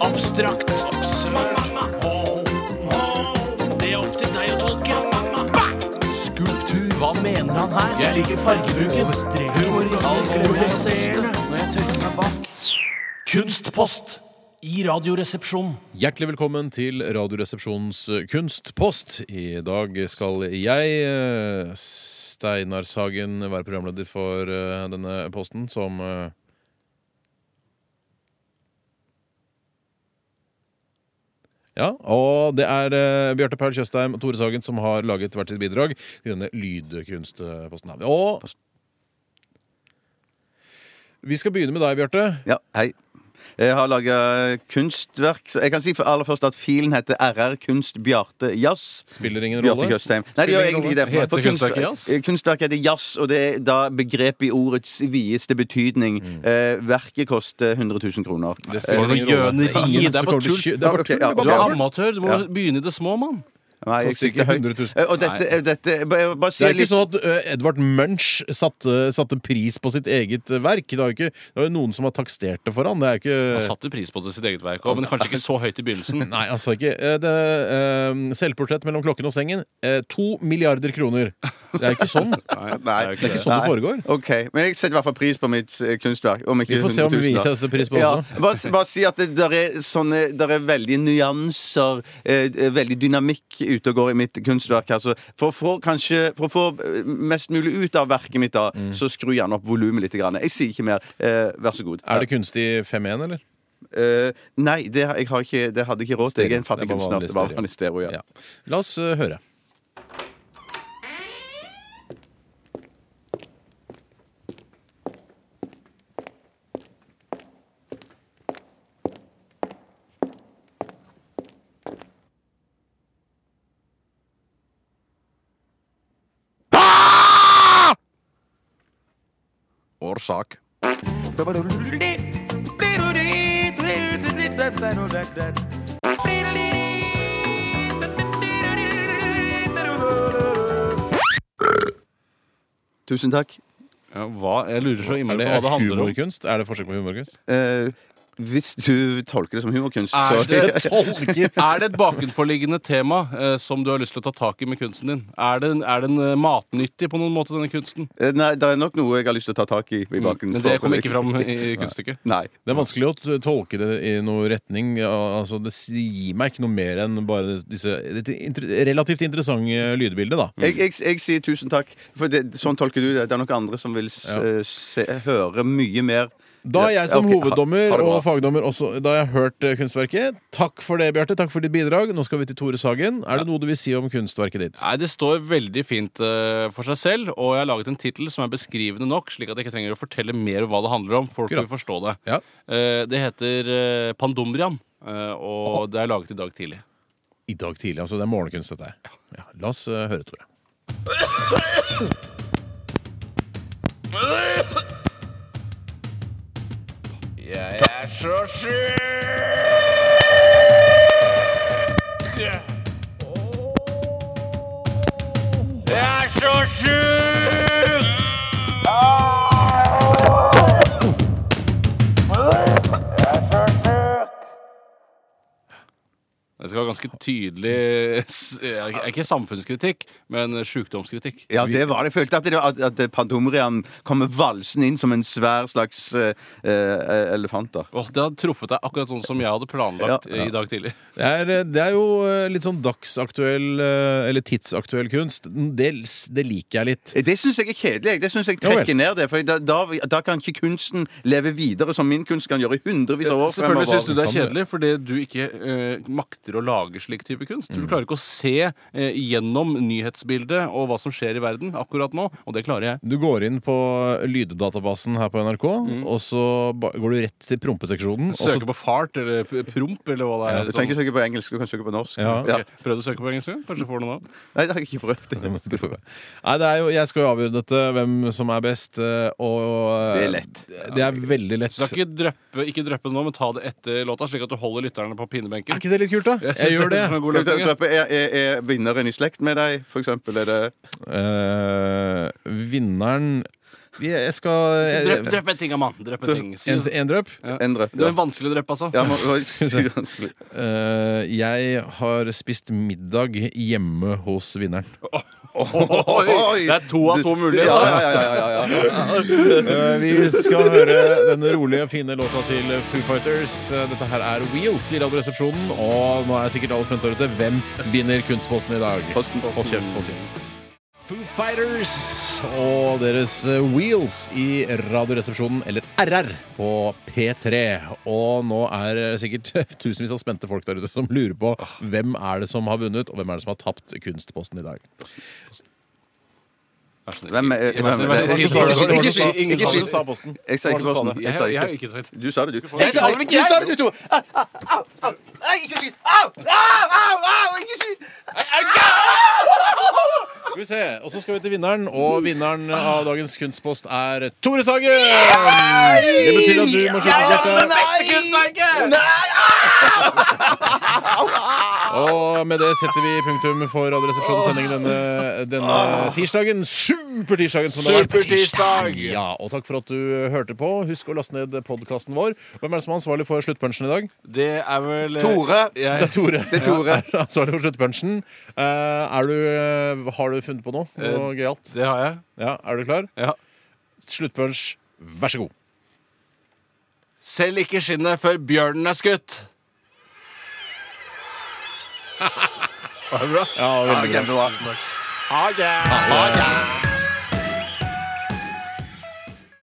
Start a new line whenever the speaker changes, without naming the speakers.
abstrakt. Absurd. Det er opp til deg å tolke. Skulptur, hva mener han her? Jeg liker fargebruken. Humoriserende. Når jeg tørker meg bak. Kunstpost i Radioresepsjonen.
Hjertelig velkommen til Radioresepsjonens kunstpost. I dag skal jeg, eh, Steinar Sagen, være programleder for eh, denne posten som eh, Ja, og det er eh, Bjarte Paul Tjøstheim og Tore Sagen som har laget hvert sitt bidrag til denne lydkunstposten. her. Og vi skal begynne med deg, Bjarte.
Ja, hei. Jeg har laga kunstverk. Så Jeg kan si for aller først at filen heter RR Kunst Bjarte Jazz.
Spiller ingen
Bjarte
rolle.
Tjøstheim. Nei, det
Spiller
gjør
ingen
egentlig
rolle.
det.
Heter
For kunst-
kunstverket jazz?
eh, Kunstverket heter jazz, og det er da begrepet i ordets videste betydning. Eh, verket koster 100 000 kroner.
Mm.
For
Det spiller
noe
ingen rolle.
gjøneri,
Eh, Ingen
det er
som
bare
kommer til å
tull.
kjø- Det er bare
Ok,
tull.
ja,
det er
Du
bare
er
gøy.
amatør. Du må
Ja.
begynne i det små, mann.
Nei, jeg
Koster ikke
sikter høyt.
100 000.
Eh, Og dette, dette bare, bare
Det
si
er ikke
litt
sånn at eh, Edvard Munch satte, satte pris på sitt eget eh, verk. Det er jo ikke det er jo noen som har takstert det for han. Det er jo
Han
ikke
satte pris på det sitt eget verk òg, men kanskje ikke så høyt i begynnelsen.
Nei, altså ikke eh, det, eh, Selvportrett mellom klokken og sengen. eh, To milliarder kroner. Det er ikke sånn.
Nei,
Nei,
det er jo ikke
ikke
det.
sånn det
Nei.
foregår.
OK. Men jeg setter i hvert fall pris på mitt eh, kunstverk. Om ikke
Vi får se om
100
vi
000 da.
viser dette pris på
Ja,
også.
bare, bare si at det der er, sånne, der er veldige nyanser, eh, veldig dynamikk ute og går i mitt kunstverk. her, så for, å få kanskje, for å få eh, mest mulig ut av verket mitt, da,
Mm.
så skru gjerne opp volumet litt. Grann. Jeg sier ikke mer. Eh, vær så god.
Er det kunstig 5-1, eller?
Eh, nei, det, har- jeg har ikke, det hadde jeg ikke råd til. Jeg er en
Stereo.
fattig
Det var
kunstner.
vanlig
Det var
stereo.
vanlig stereo, ja.
Ja. La oss eh, høre.
Årsak.
Tusen takk.
Ja, hva, jeg lurer så
Er
innmari
det
på hva det handler om.
humorkunst? Er det forsøk på humorkunst?
Eh, hvis du tolker det som humorkunst, så
Er det, er det et bakenforliggende tema eh, som du har lyst til å ta tak i med kunsten din? Er den, er den eh, matnyttig på noen måte, denne kunsten?
Eh, Nei, det er nok noe jeg har lyst til å ta tak i. i
Mm,
baken,
Men det
for-
kom ikke fram i i kunststykket.
Nei.
Det er vanskelig å t- tolke det i noen retning. Ja, Altså, det gir meg ikke noe mer enn bare disse dette inter relativt interessante lydbildet, da.
Jeg, jeg, jeg sier tusen takk. For det, sånn tolker du det. Det er nok andre som vil s-
Ja.
eh, se, høre mye mer.
Da er jeg som
Ja, ok. Ha-
hoveddommer
ha det bra.
og fagdommer også Da jeg har hørt eh, kunstverket. Takk for det, Bjarte. Takk for ditt bidrag. Nå skal vi til Tore Sagen. Er det noe du vil si om kunstverket ditt?
Nei, Det står veldig fint eh, for seg selv, og jeg har laget en tittel som er beskrivende nok, slik at jeg ikke trenger å fortelle mer om hva det handler om. Folk vil
Akkurat.
forstå det.
Ja.
Eh, det heter eh, Pandomrian, eh, og det er laget i dag tidlig.
I dag tidlig, altså. Det er morgenkunst, dette her. Ja. La oss eh, høre, Tore.
Jeg er så sjuk! Jeg er så sjuk!
Det skal være ganske tydelig s- eh, Ikke samfunnskritikk, men eh, sjukdomskritikk.
Ja, det var det. Jeg følte at, det, var- at, at Pandomrian kommer valsende inn som en svær slags eh, eh, elefant. da
Åh, det hadde truffet deg akkurat sånn som jeg hadde planlagt eh, i dag tidlig.
Det er, eh, det er jo eh, litt sånn dagsaktuell, eh, eller tidsaktuell kunst. Det, det liker jeg litt.
Eh, Det syns jeg er kjedelig. jeg. Det synes jeg
Ja vel.
trekker ned det. For da, da, da kan ikke kunsten leve videre som min kunst kan gjøre i hundrevis av år.
Selvfølgelig
fremover.
syns du det er kjedelig fordi du ikke eh, makter å lage slik type kunst. Du klarer ikke å se eh, gjennom nyhetsbildet og hva som skjer i verden akkurat nå, og det klarer jeg.
Du går inn på lyddatabasen her på NRK, og så ba- går du rett til prompeseksjonen. og så-
Søke på fart eller p- promp eller hva det
Ja,
er.
Du trenger ikke søke på engelsk, du kan søke på norsk.
Ja.
Ok, Prøv å søke på engelsk, kanskje får du noe av.
Nei, det har jeg ikke prøvd.
Det må du prøve. Nei, det er jo, jeg skal jo avgjøre dette, hvem som er best, eh, og
Det er lett.
Det er veldig lett.
Så ikke drøppe, ikke drøppe det nå, men ta det etter låta, slik at du holder lytterne på
Er
pinebenken.
ikke det litt kult, da? Jeg,
Jeg synes
gjør det.
er en god
Er,
løsning, ja.
er, er vinneren i slekt med deg, for eksempel? Er det
Eh, vinneren Jeg jeg skal
Drøp,
jeg-
drøp en ting, mann. Drøp en ting. Si
En,
det.
en drøp.
Ja.
Endre.
Det var en vanskelig drøp, altså.
Ja, men det var sykt vanskelig.
Eh, jeg har spist middag hjemme hos vinneren.
Oi, det er to av to mulige.
Ja, ja,
da.
ja, ja, ja, ja.
Eh, vi skal høre den rolige, fine låta til Foo Fighters. Eh, Dette her er Wheels i Radioresepsjonen, og nå er sikkert alle spent der ute. Hvem vinner Kunstposten i dag?
Posten, posten.
Hold kjeft, hold kjeft. Foo Fighters og deres eh, Wheels i Radioresepsjonen, eller RR, på P3. Og nå er det sikkert tusenvis av spente folk der ute som lurer på hvem er det som har vunnet, og hvem er det som har tapt Kunstposten i dag.
Vær så snill.
Hvem er-
Ikke-
hvem
ikke- ikke-
er- Ikke-
ikke- ikke- ikke-
ikke-
ikke-
ikke-
ikke-
Du sa posten.
Jeg sa ikke posten.
Jeg
Jeg sa
sånn? jeg har
ikke.
ikke sagt
Du sa det, du.
Jeg sa det ikke, jeg.
Du sa det, du to! Au, au, au, au. Nei, ikke skyt! Au, au, au, au! Ikke skyt!
Skal vi se, Og så skal vi til vinneren, og vinneren av dagens Kunstpost er Tore Sagen! Det betyr at du må skyte klokka.
Beste kunstverket!
Og med det setter vi punktum for Radioresepsjonens sending denne, denne tirsdagen. Supertirsdagen! som det har vært.
Supertirsdag!
Ja, Og takk for at du hørte på. Husk å laste ned podkasten vår. Hvem er det som er ansvarlig for sluttpunchen i dag?
Det er vel eh,
Tore.
Det er Tore.
Det er Tore.
Er ansvarlig for sluttpunchen. Eh, Er du, eh, har du funnet på noe?
Eh,
Noe gøyalt?
Det har jeg.
Ja, er du klar?
Ja.
Sluttpunch, vær så god.
Selv ikke skinnet før bjørnen er skutt.
Ja, veldig bra.
Kjempebra.
Ha det!